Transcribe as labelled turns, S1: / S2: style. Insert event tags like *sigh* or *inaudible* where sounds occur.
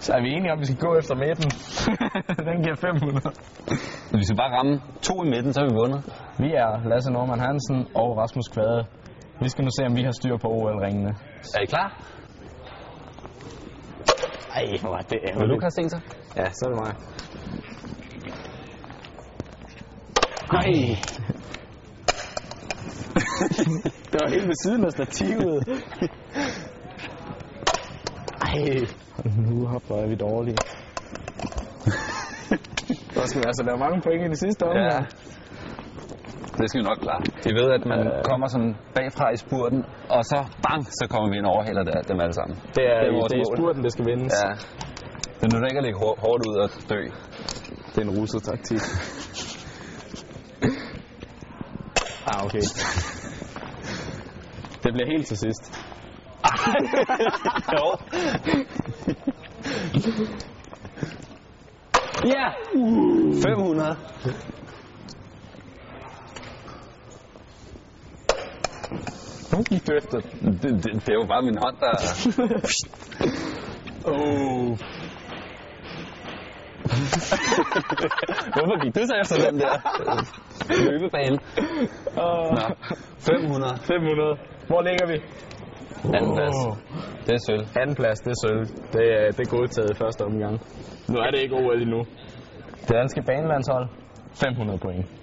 S1: Så er vi enige om, at vi skal gå efter midten. *laughs* Den giver 500.
S2: Hvis vi bare rammer to i midten, så har vi vundet.
S1: Vi er Lasse Norman Hansen og Rasmus Kvade. Vi skal nu se, om vi har styr på OL-ringene.
S2: Er I klar?
S1: Ej, hvor var det
S2: Vil du kaste en så?
S1: Ja, så er det mig.
S2: Nej.
S1: *laughs* Det var helt ved siden af stativet. Ej. Nu hopper er vi dårlige. *laughs* Der skal vi altså lave mange point i det sidste omgang.
S2: Ja. Det skal vi nok klare. Vi ved, at man
S1: Øh.
S2: kommer sådan bagfra i spurten, og så bang, så kommer vi ind og overhaler der, dem alle sammen.
S1: Det er,
S2: Det er vores
S1: det er
S2: mål.
S1: spurten, det skal vindes.
S2: Ja. Det er nu ikke at lægge hår- hårdt ud og dø.
S1: Det er en russet taktik. *laughs* ah, okay. Det bliver helt til sidst.
S2: Jo. ja!
S1: Uh.
S2: 500.
S1: Nu gik du efter.
S2: Det, det, det er jo bare min hånd, der...
S1: Oh.
S2: Hvorfor gik du så efter den der øh, løbebane?
S1: Uh,
S2: Nå, 500.
S1: 500. Hvor ligger vi?
S2: Anden plads. Det er sølv.
S1: Anden plads, det er sølv. Det er, det er godtaget i første omgang. Nu er det ikke OL endnu. Det danske banelandshold, 500 point.